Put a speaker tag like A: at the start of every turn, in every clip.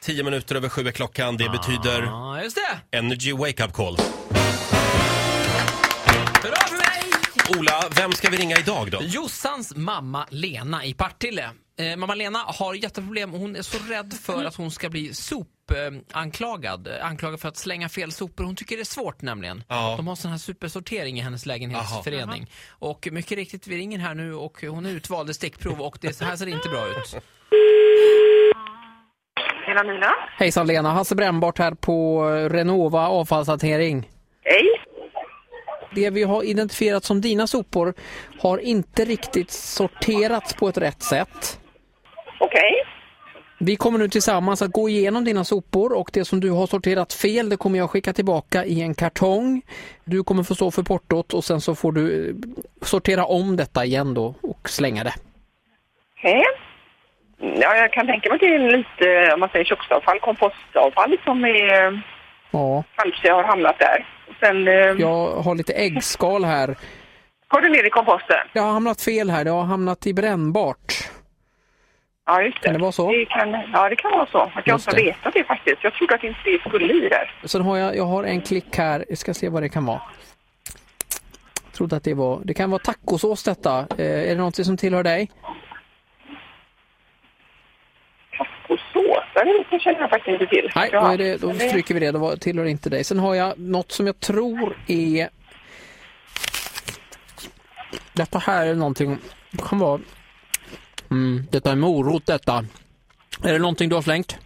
A: Tio minuter över sju är klockan.
B: Ah.
A: Det betyder
B: Ja, just det.
A: Energy Wake Up Call.
B: Bra för mig!
A: Ola, vem ska vi ringa idag då?
B: Jossans mamma Lena i Partille. Eh, mamma Lena har jätteproblem. Hon är så rädd för att hon ska bli sopanklagad. Eh, anklagad. Eh, anklagad för att slänga fel sopor. Hon tycker det är svårt nämligen.
A: Ja.
B: De har sån här supersortering i hennes lägenhetsförening. Och mycket riktigt, vi ringer här nu och hon är utvald i stickprov och det så här ser det inte bra ut.
C: Hela Nylund?
B: Hejsan Lena, Hasse Brännbart här på eh, Renova avfallshantering.
C: Hej.
B: Det vi har identifierat som dina sopor har inte riktigt sorterats på ett rätt sätt.
C: Okej.
B: Vi kommer nu tillsammans att gå igenom dina sopor och det som du har sorterat fel det kommer jag skicka tillbaka i en kartong. Du kommer få stå för portot och sen så får du eh, sortera om detta igen då och slänga det.
C: Okej. Ja, jag kan tänka mig att det är lite, om man säger köksavfall, kompostavfall som är,
B: Ja,
C: kanske har hamnat där. Och sen eh,
B: jag har lite äggskal här.
C: går det ner i komposten.
B: Det har hamnat fel här, det har hamnat i brännbart.
C: Ja, just det.
B: Kan det vara så?
C: Det kan, ja, det kan vara så. Att jag
B: Just
C: inte har
B: det.
C: vetat det faktiskt. Jag trodde att inte det skulle i där.
B: Sen har jag, jag har en klick här, jag ska se vad det kan vara. Jag trodde att det var, det kan vara tacosås detta. Eh, är det någonting som tillhör dig?
C: Och sås, det det känner jag faktiskt inte till.
B: Nej,
C: ja.
B: då, är det, då stryker vi det. Då var- tillhör det inte dig. Sen har jag något som jag tror är... Detta här är någonting... Det kan vara... Mm, detta är morot detta. Är det någonting du har slängt?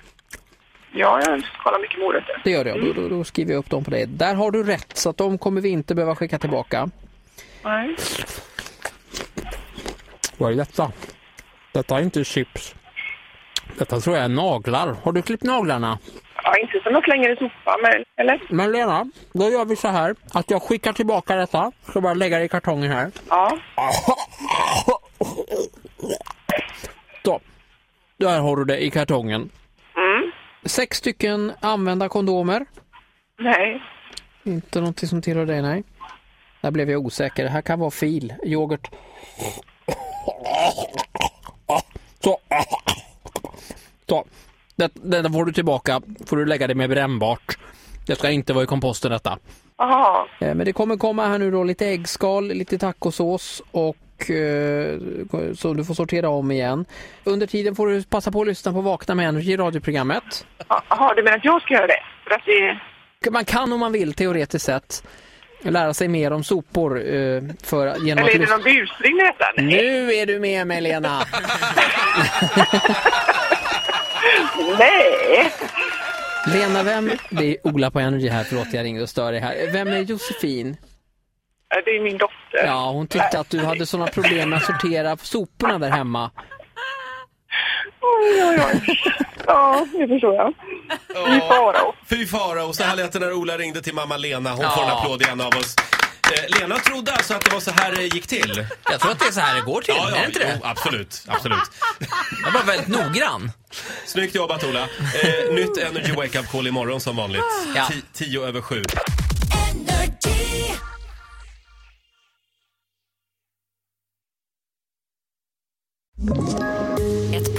C: Ja, jag kollar mycket morötter.
B: Det gör jag. Då, då, då skriver jag upp dem på dig. Där har du rätt, så att de kommer vi inte behöva skicka tillbaka.
C: Nej.
B: Vad är detta? Detta är inte chips. Detta tror jag är naglar. Har du klippt naglarna?
C: Ja, inte som jag slänger i sopan, men, eller?
B: Men Lena, då gör vi så här att jag skickar tillbaka detta. Ska bara lägga det i kartongen här.
C: Ja.
B: Så. Där har du det i kartongen.
C: Mm.
B: Sex stycken använda kondomer.
C: Nej.
B: Inte någonting som tillhör dig, nej. Där blev jag osäker. Det här kan vara fil. Yoghurt. Så. Så. Det, den får du tillbaka. får du lägga det med brännbart. Det ska inte vara i komposten detta.
C: Jaha.
B: Eh, Men det kommer komma här nu då lite äggskal, lite tacosås och eh, så du får sortera om igen. Under tiden får du passa på att lyssna på Vakna med Energy, radioprogrammet.
C: Jaha, du menar att jag ska göra det? För att det...
B: Man kan om man vill teoretiskt sett lära sig mer om sopor eh, för, genom
C: Eller
B: att
C: är det
B: lyssna.
C: någon busring med detta?
B: Nu är du med mig Lena!
C: Nej!
B: Lena, vem... Det är Ola på Energy här, förlåt jag ringde och stör dig här. Vem är Josefin?
C: Ja, Det är min dotter.
B: Ja, hon tyckte att du hade sådana problem med att sortera soporna där hemma.
C: Oj, oj, oj. Ja, det förstår jag. I Farao.
A: Fy fara, och så här lät det när Ola ringde till mamma Lena. Hon får en
B: Ja.
A: applåd igen av oss. Eh, Lena trodde alltså att det var så här det gick till.
B: Jag tror att det är så här det går till,
A: jo, absolut, absolut.
B: Jag var väldigt noggrann.
A: Snyggt jobbat Ola. Eh, nytt Energy Wake Up Call imorgon som vanligt.
B: Ja.
A: Ti- tio över sju.
D: Ett